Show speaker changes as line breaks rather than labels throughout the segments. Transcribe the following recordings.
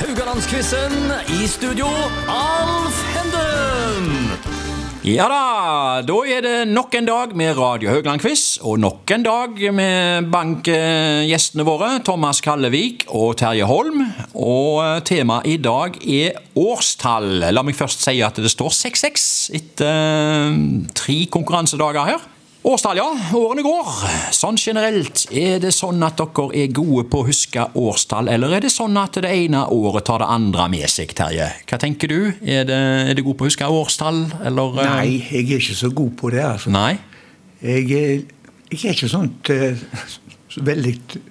Rogalandsquizen. I studio, Alf Henden. Ja da, da er det nok en dag med Radio Haugland-quiz. Og nok en dag med bankgjestene våre, Thomas Kallevik og Terje Holm. Og eh, temaet i dag er årstall. La meg først si at det står 6-6 etter eh, tre konkurransedager her. Årstall, ja. Årene går. Sånn generelt, er det sånn at dere er gode på å huske årstall, eller er det sånn at det ene året tar det andre med seg, Terje? Hva tenker du? Er det, er det god på å huske årstall, eller eh,
Nei, jeg er ikke så god på det. altså.
Nei.
Jeg, er- jeg er ikke sånt eh, så veldig t-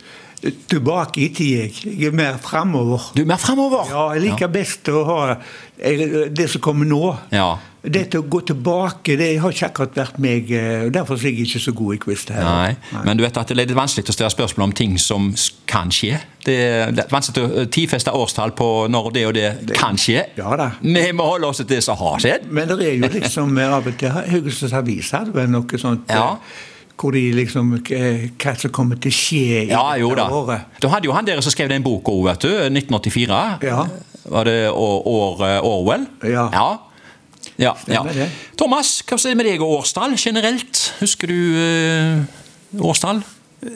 tilbake i tid, jeg. Jeg er mer framover.
Du er mer framover.
Ja, jeg liker best å ha eh, det som kommer nå.
Ja.
Dette å gå tilbake, det har ikke akkurat vært meg. eh, og Derfor er jeg ikke så god i quiz. det her.
Nei. Men du vet at det er litt vanskelig å stille spørsmål om ting som s- kan skje. Det er, det er vanskelig å eh, tidfeste årstall på når det og det, kan skje.
Ja da.
Vi må holde oss til det som har skjedd.
Men det er jo liksom eh, av og til Haugesunds Avis hadde vel noe sånt eh,
Ja.
hvor de liksom eh, Hva som kommer til å skje i
Ja, jo
dette
da.
året.
Du hadde jo han der som skrev den boka òg, vet du. 1984.
Ja.
Var det år, år, Orwell?
Ja.
ja. Ja, ja.
Stemmer det.
Thomas, hva er det med deg og årstall generelt? Husker du eh, årstall?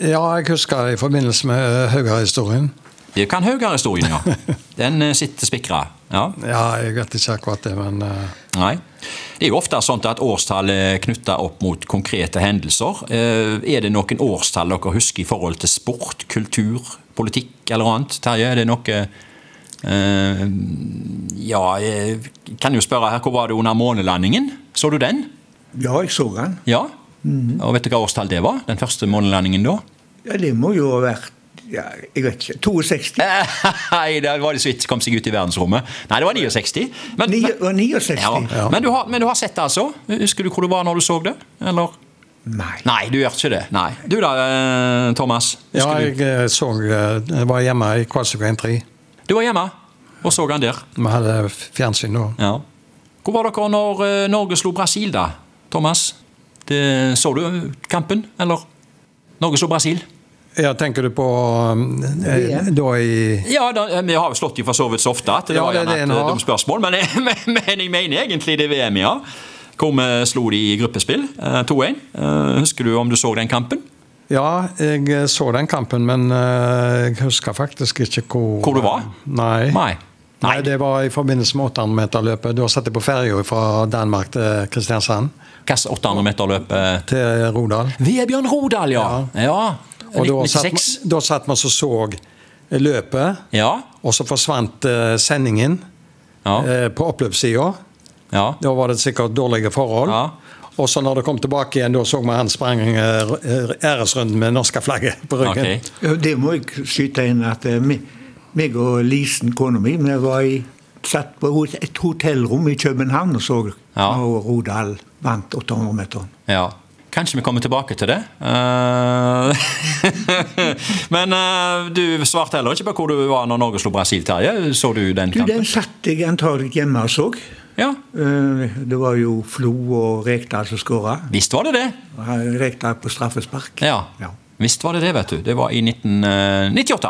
Ja, jeg husker det i forbindelse med Haugahistorien.
Det kan Haugar-historien, ja. Den eh, sitter spikra. Ja.
Ja, jeg vet ikke akkurat det, men eh,
Nei. Det er jo ofte sånn at årstall er knytta opp mot konkrete hendelser. Eh, Er det noen årstall dere husker i forhold til sport, kultur, politikk eller annet? Terje, er det noe eh, Ja, jeg kan jo spørre her, hvor var det under månelandingen? Så du den?
Ja, jeg så den.
Ja? Og vet du hva årstall det var? Den første månelandingen da?
Ja, det må jo ha vært ja, Jeg vet ikke.
Eh,
62?
Nei, det var det så vidt kom seg ut i verdensrommet. Nei, det var 69. Men,
Ni-
men,
var 69?
ja. men, du, har, men du har sett det, altså? Husker du hvor du var når du så det? Eller?
Nei.
Nei, du gjør ikke det. Nei. Du da, eh, Thomas?
ja,
Husker
jeg eh, så eh, Jeg var hjemme i Kvalsøkveien 3.
du? du var hjemme og så han der.
Vi hadde fjernsyn da.
Ja. Hvor var dere når eh, Norge slo Brasil, da? Thomas? Det, så du kampen, eller? Norge slo Brasil.
Ja, tenker du på eh, da i
Ja, da, eh, vi har jo slått dem for så vidt så ofte at det
Ja,
var
det er
gjerne et
det en
eh,
har.
dumt spørsmål. Men, men, men jeg mener egentlig det er VM, ja. Hvor vi slo de i gruppespill. eh, 2-1. Eh, Husker du om du så den kampen?
Ja, jeg eh, så den kampen, men eh, jeg husker faktisk ikke hvor eh,
Hvor du var?
Nei.
Nei.
Nei, det var i forbindelse med 800-meterløpet. Da satt jeg på ferja fra Danmark til Kristiansand,
Hvilket 800 meter løp? eh,
til Rodal.
Vebjørn Rodal, ja. ja.
Og da satt,
1996.
man- da satt man så så løpet,
Ja.
og så forsvant eh, sendingen
Ja.
eh, på oppløpssida.
Ja.
Da var det sikkert dårlige forhold.
Ja.
Og så når det kom tilbake igjen, da så vi han sprang eh, r- æresrunden med norske flagget på ryggen.
Ok.
Ja, Det må jeg skyte inn at eh, me- meg og Lisen, kona mi, vi var i, satt på hot- et hotellrom i København og så
Ja.
når Rodal vant 800-meteren.
Ja. Kanskje vi kommer tilbake til det. Eh, Men eh, du svarte heller ikke på hvor du var når Norge slo Brasil, Terje. Så du den
Du,
kampen?
den satt jeg antagelig hjemme og så.
Ja,
Eh, Det var jo Flo og Rekdal som skåra.
visst var det det.
Rekdal på straffespark.
Ja.
Ja.
Visst var det det, vet du. Det var i eh, 1998.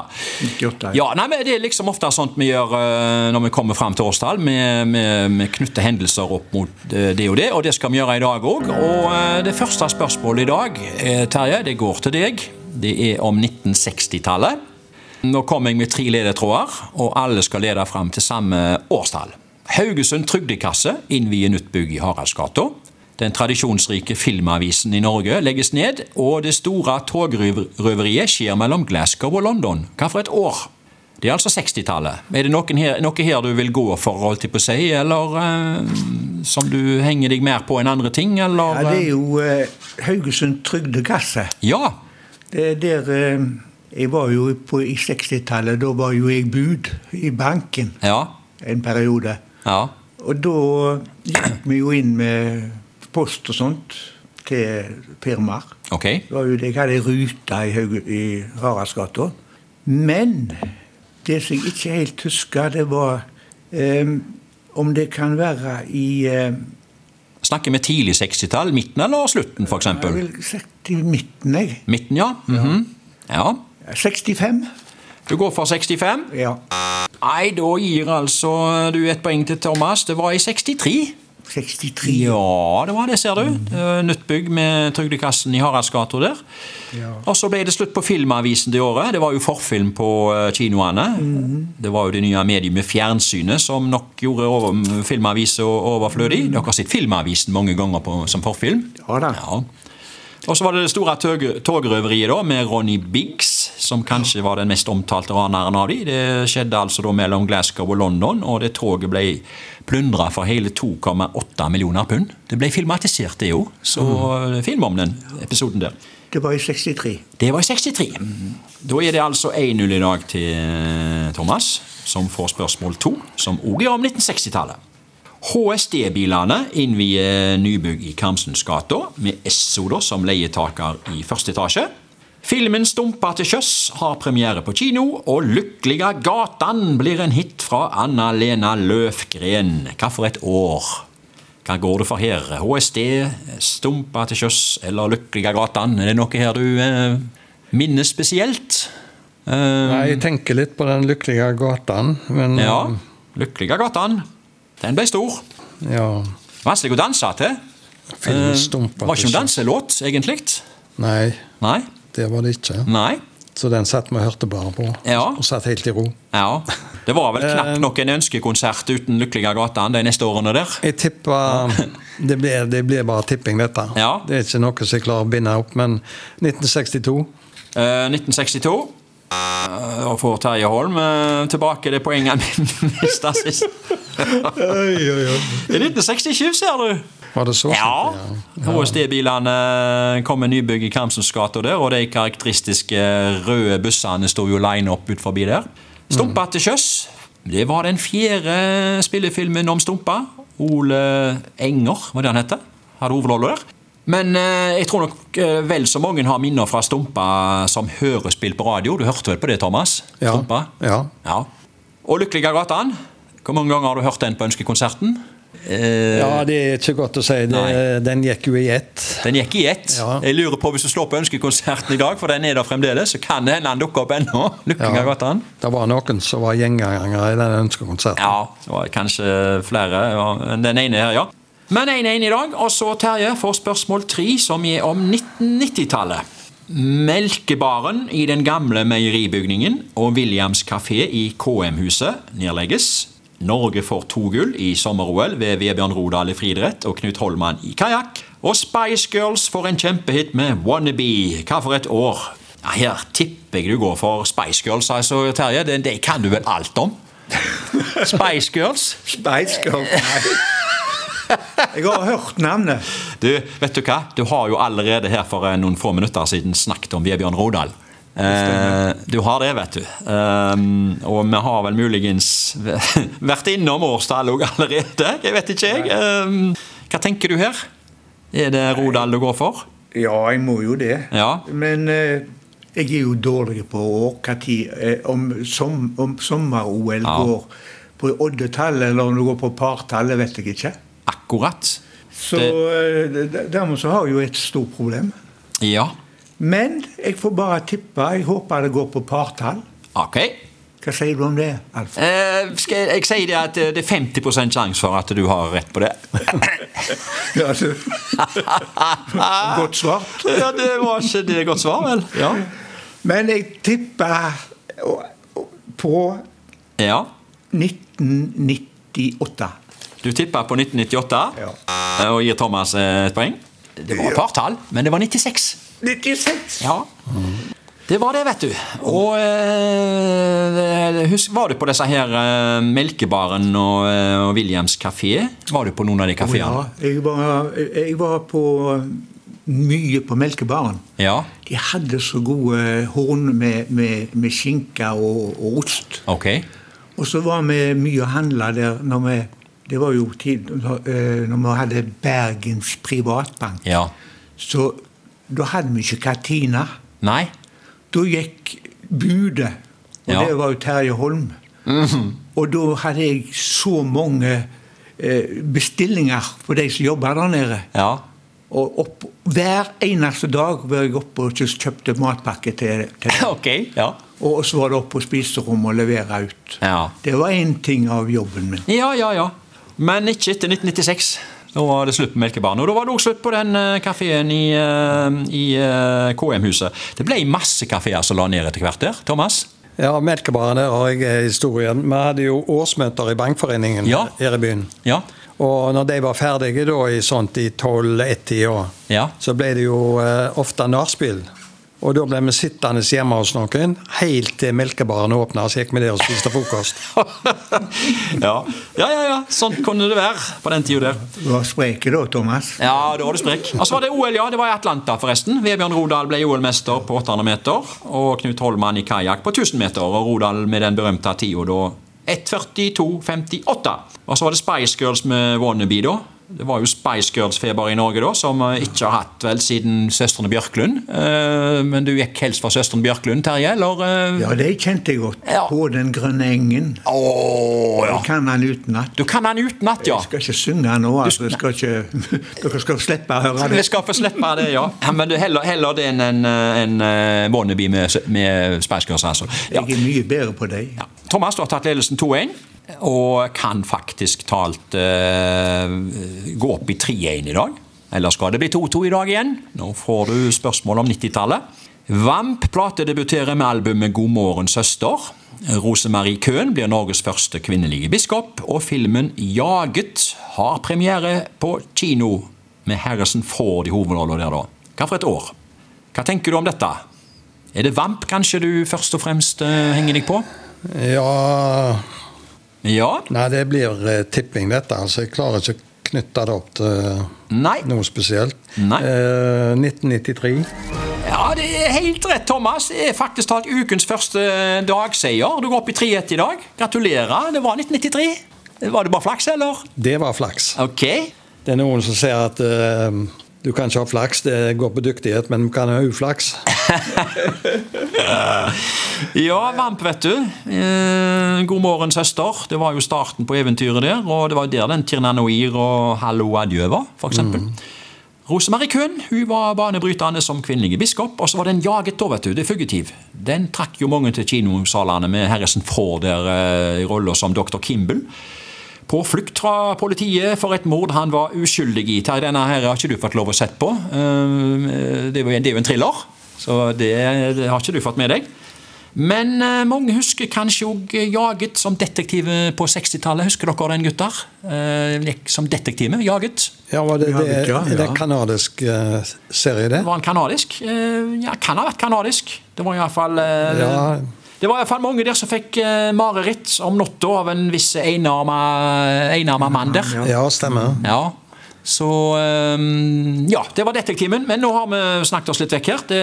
98,
Ja, nei, men Det er liksom ofte sånt vi gjør eh, når vi kommer fram til årstall. Vi, vi, vi knytter hendelser opp mot eh, det og det, og det skal vi gjøre i dag òg. Og eh, det første spørsmålet i dag, eh, Terje, det går til deg. Det er om 1960-tallet. Nå kommer jeg med tre ledetråder, og alle skal lede fram til samme årstall. Haugesund Trygdekasse innvier nytt bygg i Haraldsgata. Den tradisjonsrike filmavisen i Norge legges ned, og det store togrøveriet skjer mellom Glasgow og London. Hva for et år? Det er altså 60-tallet. Er det noen her, noe her du vil gå for, holdt jeg på å si, eller eh, som du henger deg mer på enn andre ting, eller?
Ja, det er
eh?
jo eh, Haugesund Trygdekasse.
Ja,
Det er der eh, Jeg var jo på, i 60-tallet. Da var jo jeg bud i banken
ja,
en periode.
ja,
Og da gikk vi jo inn med post og sånt til firmaer.
ok.
Det var jo det jeg hadde ei rute i, Hauge- i Haraldsgata. Men det som jeg ikke helt husker, det var eh, om det kan være i eh,
Snakker vi tidlig 60-tall, midten eller slutten, for
Jeg
eksempel?
vil sette i midten, jeg.
Midten, ja. Mhm. Ja,
65.
du går for 65.
Ja.
Nei, da gir altså du et poeng til Thomas. Det var i 63.
63.
Ja, det var det, ser du. Eh, Nytt bygg med Trygdekassen i Haraldsgata der. Og så ble det slutt på Filmavisen det året. Det var jo forfilm på eh, kinoene. Det var jo det nye mediet med fjernsynet som nok gjorde over, filmavisen overflødig. Dere har sett Filmavisen mange ganger på, som forfilm.
Ja da.
Ja. Og så var det det store tog, togrøveriet da, med Ronny Biggs, som kanskje var den mest omtalte raneren av de. Det skjedde altså da mellom Glasgow og London, og det toget ble plundra for hele 2,8 millioner pund. Det ble filmatisert, det òg, så eh, film om den episoden der.
Det var i 63.
Det var i 63. Da er det altså 1-0 i dag til eh, Thomas, som får spørsmål 2, som òg er om 1960-tallet. HSD-bilene innvier nybygg i Karmsundsgata, med Esso da som leietaker i første etasje. Filmen 'Stumpa til sjøs' har premiere på kino, og 'Lykkelige gatan' blir en hit fra Anna-Lena Løfgren. Hva for et år? Hva går det for her? HSD, 'Stumpa til sjøs' eller 'Lykkelige gatan'? Er det noe her du eh, minnes spesielt? Eh,
Nei, jeg tenker litt på den lykkelige gatan, men
ja. 'Lykkelige gatan'. Den ble stor.
ja.
Vanskelig å danse til. Eh,
Filmen stumpa
Var ikke
til
en danselåt, egentlig.
Nei,
Nei.
det var det ikke.
Nei.
Så den satt vi og hørte bare på,
Ja.
og satt helt i ro.
Ja. Det var vel
Eh,
knapt nok en ønskekonsert uten Lykkelige gatan de neste årene der.
Jeg tipper det blir, det blir bare tipping, dette.
Ja.
Det er ikke noe som jeg klarer å binde opp, men 1962
Eh, 1962. Eh, Og får Terje Holm eh, tilbake det poenget han mista sist. I 1967, ser du.
var det så?
Ja. HSD-bilene kom med eh, nybygg i Karmsens gate og der, og de karakteristiske eh, røde bussene sto jo line opp ut forbi der. Stumpa til sjøs. Det var den fjerde spillefilmen om Stumpa. Ole Enger, var det han het. Hadde hovedrollen der. Men eh, jeg tror nok eh, vel så mange har minner fra Stumpa som hørespill på radio. Du hørte vel på det, Thomas?
Ja.
Stumpa?
Ja.
ja. Og Lykkelige gatan. Hvor mange ganger har du hørt den på Ønskekonserten? Eh,
Ja, det er ikke godt å si. Det,
Nei.
den gikk jo i ett.
Den gikk i ett.
Ja.
Jeg lurer på Hvis du slår på Ønskekonserten i dag, for den er der fremdeles, så kan det hende han dukker opp ennå. Lykkinga godt an.
Det var noen som var gjengangere i den ønskekonserten.
Ja, det var kanskje flere ja, enn den ene her, ja. Men 1-1 i dag. Og så Terje får spørsmål 3, som er om 1990-tallet. Melkebaren i den gamle meieribygningen og Williams kafé i KM-huset nedlegges. Norge får to gull i sommer-OL ved Vebjørn Rodal i friidrett og Knut Holman i kajakk. Og Spice Girls får en kjempehit med Wannabe. Hva for et år? Ja, her tipper jeg du går for Spice Girls, altså, Terje. Det, det kan du vel alt om? Spice Girls.
Spice Girls. Jeg har hørt navnet.
Du, vet du hva? Du har jo allerede her for eh, noen få minutter siden snakket om Vebjørn Rodal. Eh, du har det, vet du. Ehm, og vi har vel muligens vært innom årstallet òg allerede. Jeg vet ikke, jeg. Ehm, hva tenker du her? Er det Rodal du går for?
Ja, jeg må jo det.
Ja.
Men eh, jeg er jo dårlig på år, hva tid, eh, om, som, om sommer-OL
Ja.
går på oddetallet eller om det går på partallet, vet jeg ikke.
Akkurat.
Så eh, d- dermed så har jeg jo et stort problem.
Ja.
Men jeg får bare tippe. Jeg håper det går på partall.
Ok.
Hva sier du om det, Alf?
Eh, skal jeg, jeg sier det at eh, det er 50 sjanse for at du har rett på det.
Ja, du. Godt svart.
ja, det var ikke det godt svar, vel? Ja.
Men jeg tipper å- å- på
ja.
1998.
Du tippa på 1998
Ja.
eh, og gir Thomas eh, et poeng. Det var et partall, men det var 96.
96!
Ja. Det var det, vet du. Og eh, husk, var du på disse her eh, Melkebaren og, eh, og Williams kafé? Var du på noen av de kafeene?
Ja, jeg var, jeg var på eh, mye på melkebaren.
Ja.
De hadde så gode eh, horn med, med, med skinke og, og ost.
Ok.
Og så var vi mye og handla der når vi Det var jo tid når eh, når vi hadde Bergens Privatbank.
Ja.
Så da hadde vi ikke kantina.
Nei?
Da gikk budet, og
Ja. Mhm.
det var jo Terje Holm. Og da hadde jeg så mange eh, bestillinger på de som jobba der nede.
Ja.
Og opp, hver eneste dag var jeg oppe og kjøpte matpakke til, til
Ok. Ja.
Og så var det opp på spiserommet og levere ut.
Ja.
Det var én ting av jobben min.
Ja, ja, ja. Men ikke etter 1996. Da var det slutt på melkebarn. Og da var det òg slutt på den kafeen i, eh, i eh, KM-huset. Det ble masse kafeer som la ned etter hvert der, Thomas.
Ja, melkebaren der har jeg eh, historien. Vi hadde jo årsmøter i Bankforeningen
Ja.
her i byen.
Ja.
Og når de var ferdige da i sånt i 12-1-tida,
Ja.
så ble det jo eh, ofte nachspiel. Og da ble vi sittende hjemme hos noen helt til melkebaren åpna, så gikk vi der og spiste frokost.
ja. ja, ja, ja. Sånn kunne det være på den tida der.
Du var sprek da, Thomas.
Ja, da var du sprek. Og så var det OL, ja. Det var i Atlanta, forresten. Vebjørn Rodal ble OL-mester på 800 meter. Og Knut Holman i kajakk på 1000 meter. Og Rodal med den berømte tida da 1.42,58. Og så var det Spice Girls med Wannabe, da. Det var jo Spice Girls-feber i Norge da, som eh, ikke har hatt vel siden søstrene Bjørklund. Eh, Men du gikk helst for søstrene Bjørklund, Terje, eller? eh?
Ja, det kjente jeg godt.
Ja.
På den grønne engen.
Åh, ja.
Jeg kan han utenat.
Du kan han utenat, ja.
Jeg skal ikke synge nå, altså. Jeg skal ikke, dere skal slippe å høre
Vi
det.
skal få slippe det, ja. Ja, Men du heller, heller det enn en, en, eh, wannabe med, med Spice Girls, altså. Ja.
Jeg er mye bedre på deg.
Ja. Thomas du har tatt ledelsen 2-1, og kan faktisk talt eh, gå opp i 3-1 i dag. Eller skal det bli 2-2 i dag igjen? Nå får du spørsmål om 90-tallet. Vamp platedebuterer med albumet 'God morgen, søster'. Rosemarie Køhn blir Norges første kvinnelige biskop, og filmen 'Jaget' har premiere på kino med Harrison Ford i hovedrollen der, da. Hva for et år? Hva tenker du om dette? Er det Vamp kanskje du først og fremst eh, henger deg på?
Ja
Ja.
Nei, det blir eh, tipping, dette. Altså, jeg klarer ikke å knytte det opp til eh,
Nei.
noe spesielt.
Nei.
Eh, 1993.
Ja, det er helt rett, Thomas. Det er faktisk talt ukens første dagseier. Du går opp i 3-1 i dag. Gratulerer. Det var 1993. Var det bare flaks, eller?
Det var flaks.
Ok.
Det er noen som sier at eh, du kan ikke ha flaks, det går på dyktighet, men du kan ha uflaks.
Ja, Vamp, vet du. Eh, god morgen, søster. Det var jo starten på eventyret der. Og det var jo der den Tirnanoir og Hallo adjø var, for eksempel. Rosemarie Kuhn hun var banebrytende som kvinnelig biskop. Og så var den jaget da, vet du. Det er fugitiv. Den trakk jo mange til kinosalene med Harrison Ford der eh, i rolla som dr. Kimball. På flukt fra politiet for et mord han var uskyldig i. Terje, denne her har ikke du fått lov å sett på. Eh, Det er jo en- det er jo en thriller, så det, det har ikke du fått med deg. Men eh, mange husker kanskje òg Jaget som detektiv på 60-tallet. Husker dere den, gutter? Eh, gikk som detektiv, Jaget.
Ja, var det,
Ja,
det,
ja, ja.
det er en kanadisk eh, serie, det?
Var han kanadisk? Eh, Ja, kan ha vært kanadisk. Det var iallfall eh,
Ja.
Det var i hvert fall mange der som fikk eh, mareritt om natta av en viss enarma, enarma mann der.
Ja, stemmer.
Ja. Så ehm, Ja, det var detektimen, men nå har vi snakket oss litt vekk her. Det,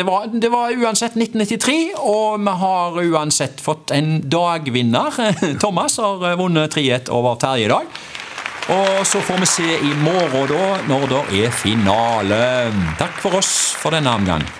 det, var, det var uansett 1993, og vi har uansett fått en dagvinner. Thomas har vunnet 3-1 over Terje i dag. Og så får vi se i morgen, da, når det er finale. Takk for oss for denne omgang.